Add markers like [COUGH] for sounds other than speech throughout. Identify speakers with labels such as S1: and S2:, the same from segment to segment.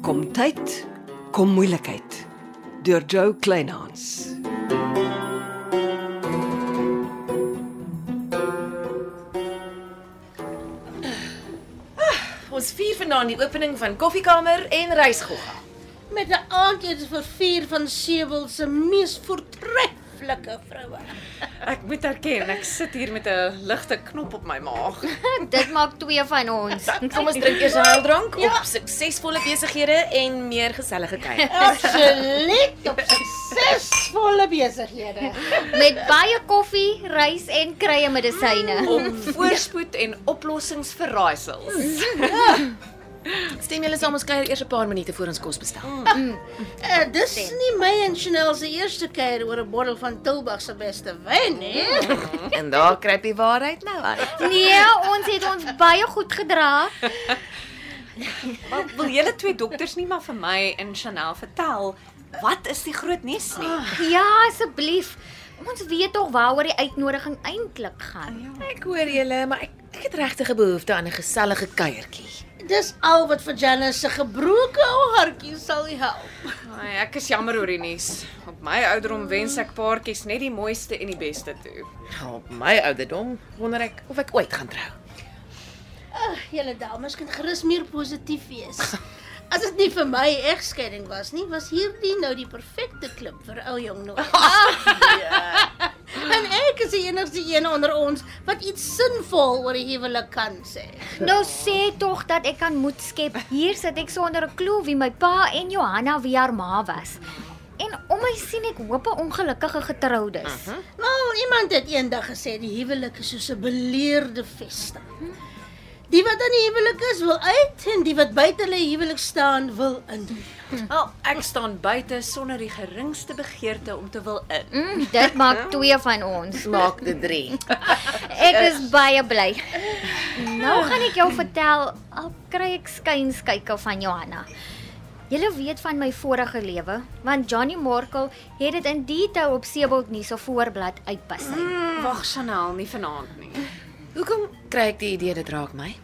S1: Gesondheid kom moeilikheid deur Joe Kleinhans.
S2: Ons vier vanaand die opening van Koffiekamer en Reisgogga.
S3: met 'n aandete vir vier van Sebel se mees voortreffelike vroue.
S2: Ek moet erken, ek sit hier met 'n ligte knop op my maag.
S4: Dit maak twee van ons.
S2: Kom ons drink eers 'n heildrank ja. op suksesvolle besighede en meer gesellige kuier.
S3: Absoluut op suksesvolle besighede.
S4: Met baie koffie, rys en krye medisyne.
S2: [LAUGHS] Om voorspoed en oplossings vir raaisels. [LAUGHS] Stem julle saam ons kuier eers 'n paar minute voor ons kos bestel.
S3: Uh, dis nie my en Chanel se eerste keer oor 'n bottel van Tilburg se beste wyn nie.
S2: [LAUGHS] En daar kruip die waarheid nou uit.
S4: Nee, ons het ons baie goed gedra.
S5: Maar wil julle twee dokters nie maar vir my en Chanel vertel wat is die groot nuus nie?
S4: Ja, asseblief. Ons weet tog waaroor die uitnodiging eintlik
S5: Ah,
S4: gaan.
S5: ja.
S2: Ek hoor julle, maar ek, ek het regtig 'n behoefte aan 'n gesellige kuiertjie.
S3: Dis al wat vir Janice se gebroke hartjie sal help.
S5: Ai, ek is jammer oor die nuus. Op my ouderdom wens ek paartjies net die mooiste en die beste toe.
S2: Nou, op my ouderdom wonder ek of ek ooit gaan trou.
S3: Ag, julle dames kan gerus meer positief wees. As dit nie vir my egskeiding was nie, was hierdie nou die perfekte klip vir ou jong nou. [LAUGHS] en ek is die enigste een onder ons wat iets sinvol oor 'n huwelik kan sê.
S4: Nou sê tog dat ek kan moed skep. Hier sit ek sonder 'n klou wie my pa en Johanna wie haar ma was. En om my sien ek hoop 'n ongelukkige
S5: Mhm.
S4: getroudes.
S3: Wel, Nou, iemand het eendag gesê die huwelik is soos 'n beleerde vesta. Die wat aan die huwelik is, wil uit en die wat buite hulle huwelik staan, wil in.
S5: Wel, ek staan buite sonder die geringste begeerte om te wil in.
S4: Mm, dit [LAUGHS] maak twee van ons.
S2: Maak dit [LAUGHS] 3.
S4: Ek is baie [LAUGHS] bly. Nou gaan ek jou vertel al kry ek skuinskyke van Johanna. Julle weet van my vorige lewe, want Johnny Morkel het dit in detail op Sebald nuus se voorblad uitpas.
S5: Wag Chanel, nie vanaand nie.
S2: Hoekom kry ek die idee dit raak my?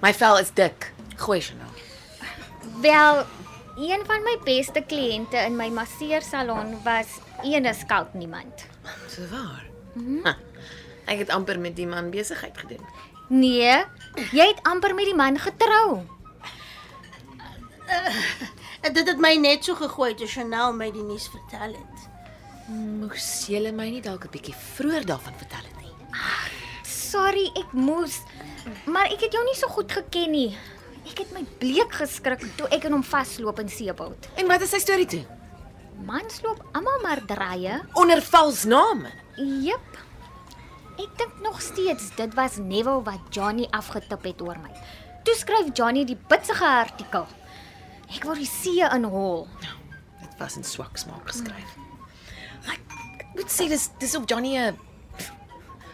S2: My vel is dik. Gooi nou. Chanel.
S4: Wel, een van my beste kliënte in my masseursalon was ene skalk niemand.
S2: So waar. Mhm. Ha, ek het amper met die man besigheid gedoen.
S4: Nee, jy het amper met die man getrou.
S3: En dit het my net so gegooi toe Chanel my die nuus vertel het.
S2: Moes jy my nie dalk 'n bietjie vroeër daarvan vertel het nie?
S4: Sorry, ek moes. Maar ek het jou nie so goed geken nie. Ek het my bleek geskrik toe ek in hom vasloop in Seebald.
S2: En wat is sy storie toe?
S4: Mans loop almal maar draaie.
S2: Onder vals name.
S4: Jep. Ek dink nog steeds dit was Neville wat Johnny afgetip het oor my. Toe skryf Johnny die bitsige artikel. Ek wou die see inhol.
S2: Dit was in swak smaak geskryf. Hmm. Maar ek- ek moet sê dis dis op Johnny 'n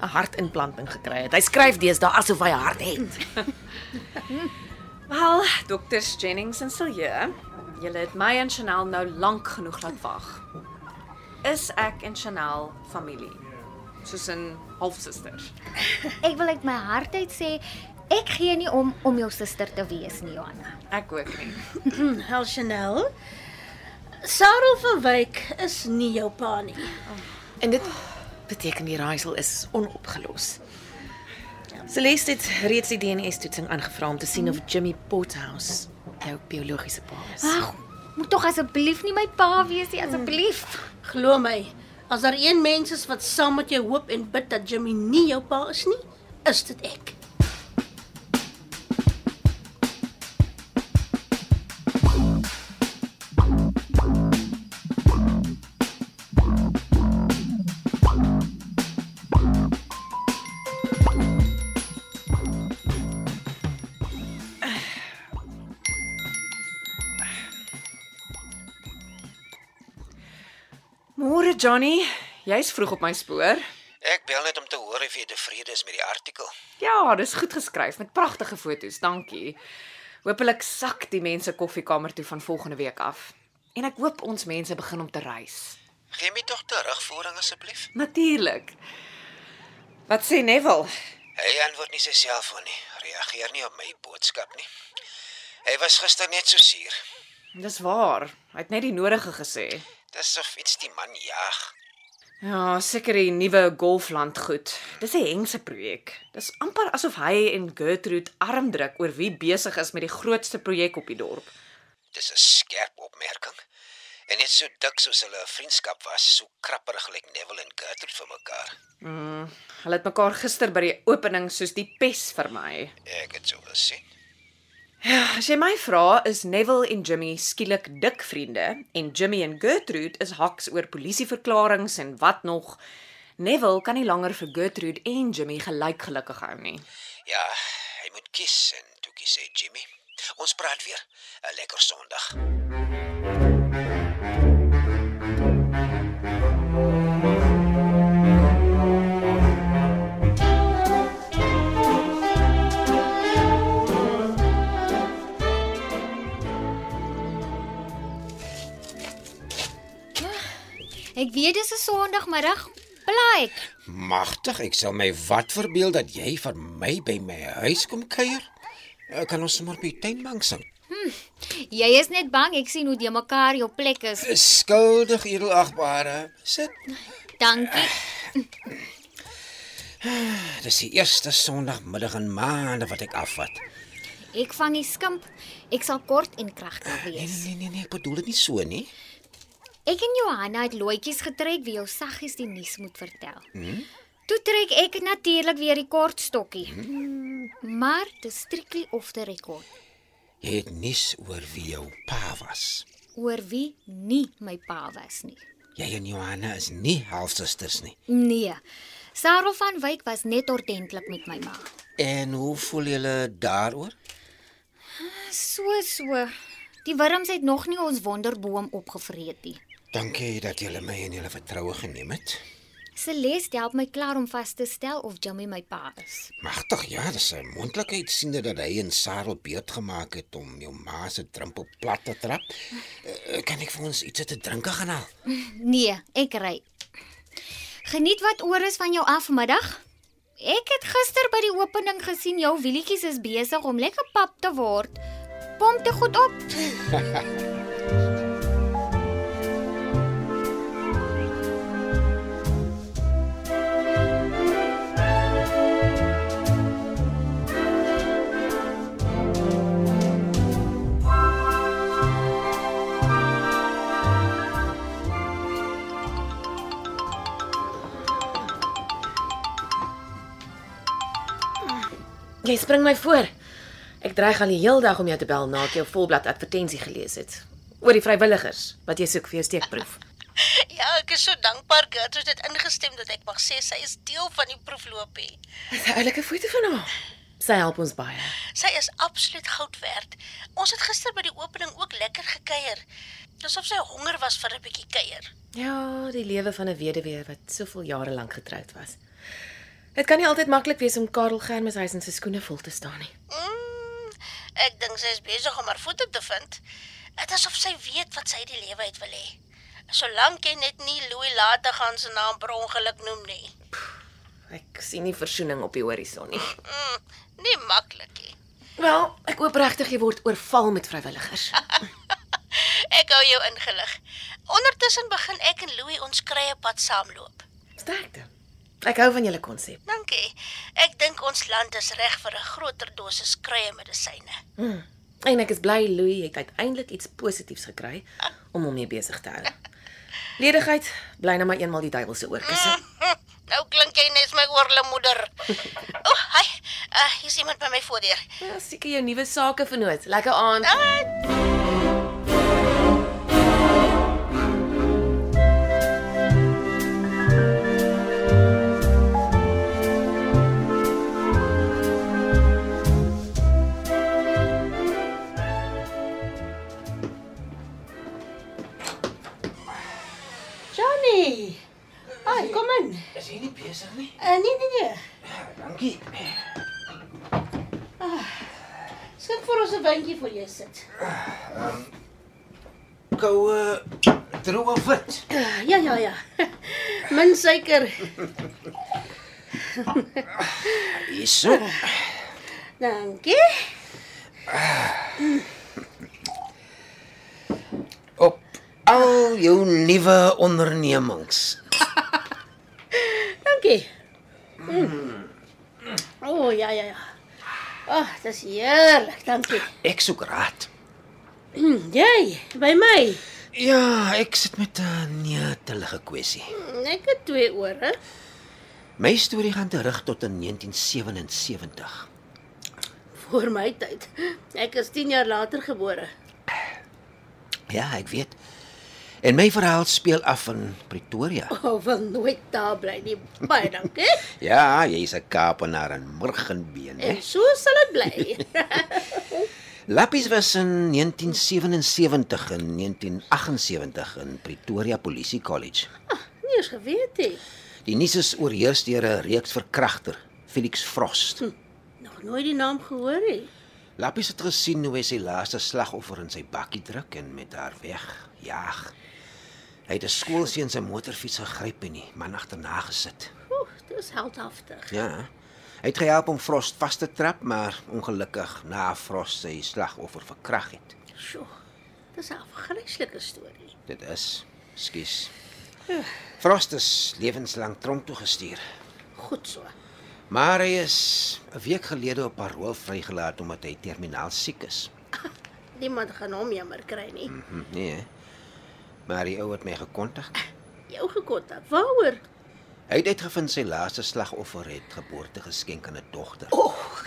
S2: 'n hartimplanting gekry het. Hy skryf deesdae asof hy 'n hart het.
S5: Wel, dokters Jennings en Silje, julle het my en Chanel nou lank genoeg laat wag. Is ek en Chanel familie? Soos 'n halfsusters.
S4: Ek wil uit my hart uit sê ek gee nie om om jou suster te wees nie, Johanna.
S5: Ek ook nie.
S3: Hel Chanel. Sarel Verwyk is nie jou pa nie.
S2: En dit beteken die raaisel is onopgelos. Celeste het reeds die DNA-toetsing aangevra om te sien of Jimmy Pothouse jou biologiese pa is.
S4: Ag, moet tog asseblief nie my pa wees nie, asseblief.
S3: Glo my, as daar een mens is wat saam met jou hoop en bid dat Jimmy nie jou pa is nie, is dit ek.
S5: Môre Johnny, jy's vroeg op my spoor.
S6: Ek bel net om te hoor of jy tevrede is met die artikel.
S5: Ja, dis goed geskryf met pragtige foto's, dankie. Hoopelik sak die mense koffiekamer toe van volgende week af. En ek hoop ons mense begin om te reis.
S6: Gee my tog terugvoering asseblief.
S5: Natuurlik. Wat sê Neville?
S6: Hy antwoord nie sy selfoon nie. Reageer nie op my boodskap nie. Hy was gister net so suur.
S5: Dis waar. Hy het net die nodige gesê.
S6: Dis of iets die man jag.
S5: Ja, seker die nuwe golfland goed. Dis 'n hengse projek. Dis amper asof hy en Gertrude arm druk oor wie besig is met die grootste projek op die dorp.
S6: Dis 'n skerp opmerking. En net so dik soos hulle 'n vriendskap was, so krapperig lyk like Neville en Gertrude vir mekaar.
S5: Hulle het mekaar gister by die opening soos die pes vir my.
S6: Ek het so gesien.
S5: Ja, as jy my vra, is Neville en Jimmy skielik dik vriende en Jimmy en Gertrude is haks oor polisieverklaringe en wat nog. Neville kan nie langer vir Gertrude en Jimmy gelyk gelukkig hou nie.
S6: Ja, hy moet kies en toe kies hy Jimmy. Ons praat weer. 'n Lekker Sondag.
S4: Ek weet dis 'n Sondagmiddag. Blaai ek.
S6: Magtig, ek sal my wat verbeel dat jy vir my by my huis kom kuier. Ek kan ons sommer by die tuinbank sing.
S4: Jy is net bang ek sien hoe jy mekaar jou plek is.
S6: Skuldig, edelagbare. Sit.
S4: Dankie.
S6: Nou, Dis die eerste Sondagmiddag in maande wat ek afvat.
S4: Ek vang die skimp. Ek sal kort en kragtig
S6: Nee,
S4: wees.
S6: nee, nee, nee, ek bedoel dit nie so nie.
S4: Ek en Johanna het loetjies getrek wie jou saggies die nuus moet vertel. Hmm? Toe trek ek natuurlik weer die kort stokkie. Hmm. Maar dis strictly off the record
S6: Jy het nuus oor wie jou pa was.
S4: oor wie nie my pa was nie.
S6: Jy en Johanna is nie halfsusters nie.
S4: Nee. Sarah van Wyk was net ordentlik met my ma.
S6: En hoe voel julle daaroor?
S4: So so. Die wurms het nog nie ons wonderboom opgevreet nie.
S6: Dankie dat julle my en julle vertroue geneem het.
S4: Celeste help my klaar om vas te stel of Jimmy my pa is.
S6: Magtig, ja, dis 'n moontlikheid siende dat hy en Sarah beet gemaak het om jou ma se drempel plat te trap. Eh, Kan ek vir ons iets te drinke gaan haal?
S4: Nee, ek ry. Geniet wat oor is van jou afmiddag. Ek het gister by die opening gesien jou wielietjies is besig om lekker pap te word. Pomp te goed op.
S2: Jy spring my voor. Ek dreig al die heel dag om jou te bel nadat jy jou volblad advertensie gelees het oor die vrywilligers wat jy soek vir jou steekproef.
S3: Ja, ek is so dankbaar Gertrude het ingestem dat ek mag sê sy is deel van die proefloopie.
S2: Dis 'n oulike foto van haar. Sy help ons baie.
S3: Sy is absoluut goud werd. Ons het gister by die opening ook lekker gekuier. Dis of sy honger was vir 'n bietjie kuier.
S2: Ja, die lewe van 'n weduwee wat soveel jare lank getroud was. Dit kan nie altyd maklik wees om Karel Germishuis in sy skoene vol te staan nie.
S3: Mm, ek dink sy is besig om haar voete te vind. Dit is of sy weet wat sy uit die lewe uit wil hê. Solank jy net nie Louis later gaan se naam per ongeluk noem nie.
S2: Ek sien nie versoening op die horison nie.
S3: Mm, nie maklik nie.
S2: Wel, ek hoop regtig jy word oorval met vrywilligers.
S3: Ek hou jou ingelig. Ondertussen begin ek en Louis ons krye pad saamloop.
S2: Sterkte. Ek hou van julle konsep.
S3: Dankie. Ek dink ons land is reg vir 'n groter dosis krye medisyne. [LAUGHS]
S2: Hmm. En ek is bly Louis het uiteindelik iets positiefs gekry om hom mee besig te hou. Ledigheid bly nou maar eenmal die duiwel se oorkussing.
S3: Hm, nou klink jy net soos my oorlemoeder. O, oh, hi. Uh, hier's iemand by my voordeur.
S2: Ja, seker jou nuwe sake vernoot. Lekker aand.
S3: Johnny. Ai, kom in.
S6: Is jy nie besig nie?
S3: Uh, nee nee nee.
S6: Dankie.
S3: Skink vir ons 'n windjie voor jy sit.
S6: Koue droë wit.
S3: Uh, ja ja [LAUGHS] ja. Min suiker.
S6: Hierso.
S3: Dankie.
S6: al jou nuwe ondernemings.
S3: Dankie. Mm. O, oh, ja ja ja. Ag, oh, dis heerlik, dankie. Mm,
S6: Ek soek raad.
S3: Jy, by my.
S6: Ja, ek sit met 'n netelige kwessie.
S3: Ek het twee ore.
S6: My storie gaan terug tot in 1977.
S3: voor my tyd. Ek is 10 jaar later gebore.
S6: Ja, ek weet. En my verhaal speel af in Pretoria.
S3: Ou oh, wil nooit daar bly nie. Baie dankie.
S6: Ja, jy's 'n Kaapenaar en murgenbeen, hè.
S3: En so sal dit bly.
S6: Lappies was in 1977 en 1978 in Pretoria Polisie College.
S3: Ah, nie eens geweet hê.
S6: Die nuus is oorheers deur 'n reeks verkragter, Felix Frost.
S3: Nog nooit die naam gehoor hê.
S6: Lappies het gesien hoe hy sy laaste slagoffer in sy bakkie druk en met haar weg jaag. Hy het 'n skoolseun se motorfiets gegryp en die man agterna gesit.
S3: Oeh, dis heldhaftig.
S6: Ja. Hy het gehelp om Frost vas te trap, maar ongelukkig na Frost sy slagoffer verkrag het.
S3: Sjoe. Dis 'n afgryslike storie.
S6: Dit is, skus. Frost is lewenslang tronk toe gestuur,
S3: Goed so.
S6: maar hy is 'n week gelede op parol vrygelaat omdat hy terminaal siek is.
S3: Niemand gaan hom jammer kry nie.
S6: Hm, nee. hè. Maar die ou het my gekontak.
S3: Jou gekontak. Waaroor?
S6: Hy het uitgevind sy laaste slagoffer het geboorte geskenk aan 'n dogter.
S3: Oeg.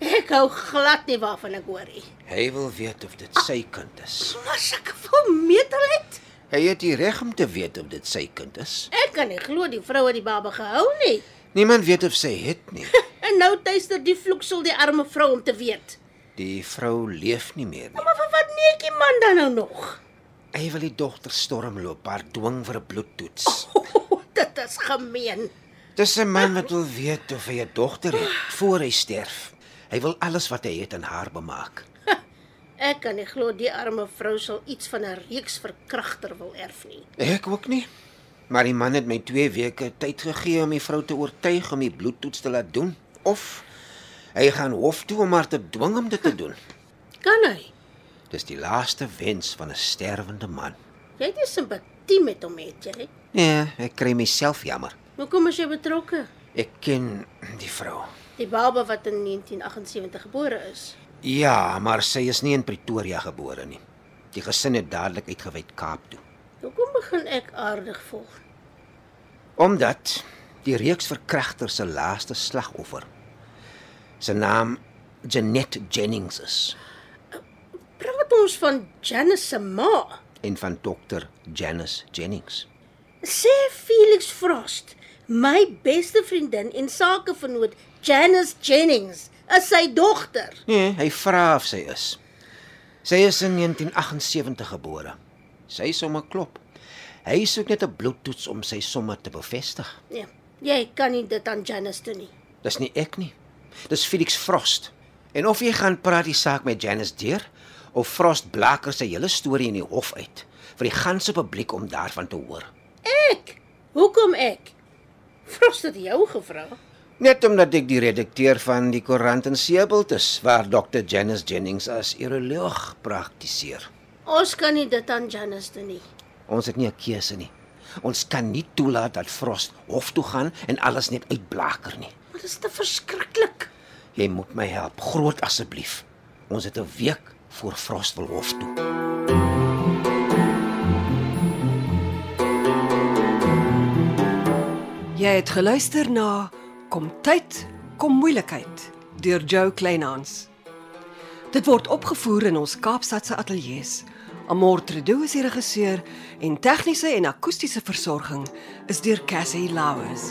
S3: Ek hou glad nie waarvan ek hoor nie.
S6: Hy wil weet of dit sy kind is.
S3: Maar sulke vol meterheid.
S6: Hy het die reg om te weet of dit sy kind is.
S3: Ek kan nie glo die vrou het die baba gehou nie.
S6: Niemand weet of sy het nie.
S3: En nou tuister die vloeksel die arme vrou om te weet.
S6: Die vrou leef nie meer nie.
S3: Maar vir wat neek die man dan nou [LAUGHS] nog?
S6: Hy wil die dogter stormloop, haar dwing vir 'n bloedtoets.
S3: Oh, dit is gemeen.
S6: Dis 'n man wat wil weet of hy 'n dogter het voor hy sterf. Hy wil alles wat hy het aan haar bemaak.
S3: Ek kan nie glo die arme vrou sal iets van 'n reeks verkragter wil erf nie.
S6: Ek ook nie. Maar die man het my 2 weke tyd gegee om die vrou te oortuig om die bloedtoets te laat doen of hy gaan hof toe om haar te dwing om dit te [LAUGHS] doen.
S3: Kan hy?
S6: Dis die laaste wens van 'n sterwende man.
S3: Jy het nie simpatie met hom het jy?
S6: Nee, ek kry myself jammer.
S3: Hoekom is jy betrokke?
S6: Ek ken die vrou.
S3: Die baba wat in 1978 gebore is.
S6: Ja, maar sy is nie in Pretoria gebore nie. Die gesin het dadelik uitgewyd Kaap toe.
S3: Hoekom begin ek aardig voel?
S6: Omdat die reeks verkragter se laaste slagoffer se naam Janet Jennings is
S3: Praat ons van Janice se ma.
S6: en van dokter Janice Jennings.
S3: Sê Felix Frost, my beste vriendin en sakevernoot Janice Jennings is sy dogter.
S6: Nee, hy vra of sy is. Sy is in 1978 gebore. Sy is om 'n klop. Hy soek net 'n bloedtoets om sy somme te bevestig.
S3: Nee, jy kan nie dit aan Janice doen nie.
S6: Dis nie ek nie. Dis Felix Frost. En of jy gaan praat die saak met Janice deur of Frost blaker sy hele storie in die hof uit vir die ganse publiek om daarvan te hoor.
S3: Ek. Hoekom ek? Frost het jou gevra.
S6: Net omdat ek die redakteur van die koerant in Seebult is waar Dr Janice Jennings as uroloog praktiseer.
S3: Ons kan nie dit aan Janice doen nie.
S6: Ons het nie 'n keuse nie. Ons kan nie toelaat dat Frost hof toe gaan en alles net uitblaker nie.
S3: Maar dit is te verskriklik.
S6: Jy moet my help, groot asseblief. Ons het 'n week voor Frost wil hof toe.
S1: Jy het geluister na Kom tyd, kom moeilikheid deur Jo Kleinhans. Dit word opgevoer in ons Kaapstadse ateljee se. Amortredo is die regisseur en tegniese en akoestiese versorging is deur Cassie Lauers.